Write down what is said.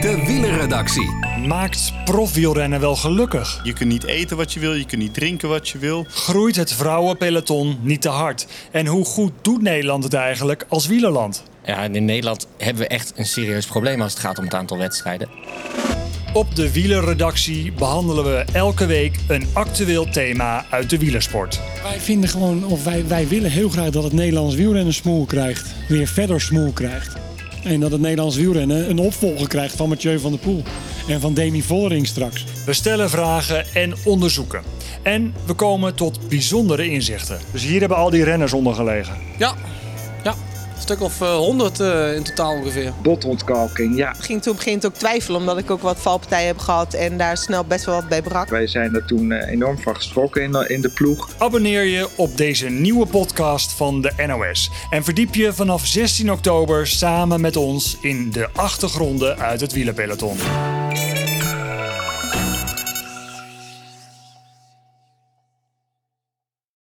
De wielerredactie. Maakt profwielrennen wel gelukkig? Je kunt niet eten wat je wil, je kunt niet drinken wat je wil. Groeit het vrouwenpeloton niet te hard? En hoe goed doet Nederland het eigenlijk als wielerland? Ja, en in Nederland hebben we echt een serieus probleem als het gaat om het aantal wedstrijden. Op de wielerredactie behandelen we elke week een actueel thema uit de wielersport. Wij vinden gewoon, of wij, wij willen heel graag dat het Nederlands wielrennen smoel krijgt. Weer verder smoel krijgt. En dat het Nederlands wielrennen een opvolger krijgt van Mathieu van der Poel. En van Demi Vollering straks. We stellen vragen en onderzoeken. En we komen tot bijzondere inzichten. Dus hier hebben al die renners onder gelegen. Ja, ja. Een stuk of eh, honderd in totaal ongeveer. botontkalking. Ja, Ik ging toen op een gegeven moment ook twijfelen, omdat ik ook wat valpartijen heb gehad en daar snel best wel wat bij brak. wij zijn er toen eh, enorm van geschrokken in de, in de ploeg. Abonneer je op deze nieuwe podcast van de NOS. En verdiep je vanaf 16 oktober samen met ons in de achtergronden uit het wielerpeloton.